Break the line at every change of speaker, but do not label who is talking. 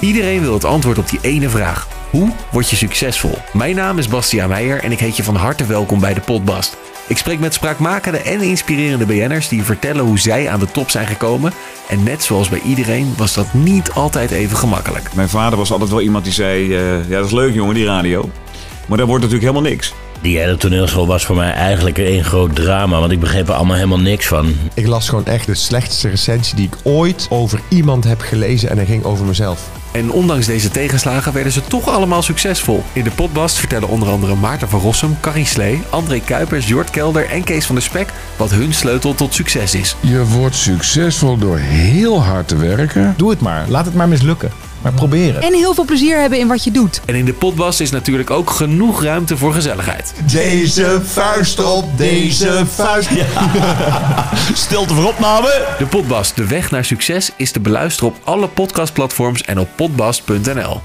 Iedereen wil het antwoord op die ene vraag. Hoe word je succesvol? Mijn naam is Bastiaan Meijer en ik heet je van harte welkom bij de Podbast. Ik spreek met spraakmakende en inspirerende BN'ers die vertellen hoe zij aan de top zijn gekomen. En net zoals bij iedereen was dat niet altijd even gemakkelijk.
Mijn vader was altijd wel iemand die zei: eh, Ja, dat is leuk, jongen, die radio. Maar dat wordt natuurlijk helemaal niks.
Die hele toneelschool was voor mij eigenlijk één groot drama, want ik begreep er allemaal helemaal niks van.
Ik las gewoon echt de slechtste recensie die ik ooit over iemand heb gelezen en dat ging over mezelf.
En ondanks deze tegenslagen werden ze toch allemaal succesvol. In de podcast vertellen onder andere Maarten van Rossum, Carrie Slee, André Kuipers, Jort Kelder en Kees van der Spek wat hun sleutel tot succes is.
Je wordt succesvol door heel hard te werken.
Doe het maar. Laat het maar mislukken. Maar proberen.
En heel veel plezier hebben in wat je doet.
En in de podcast is natuurlijk ook genoeg ruimte voor gezelligheid.
Deze vuist op deze vuist. Stilte voor opname.
De podcast De Weg naar Succes is te beluisteren op alle podcastplatforms en op podbast.nl.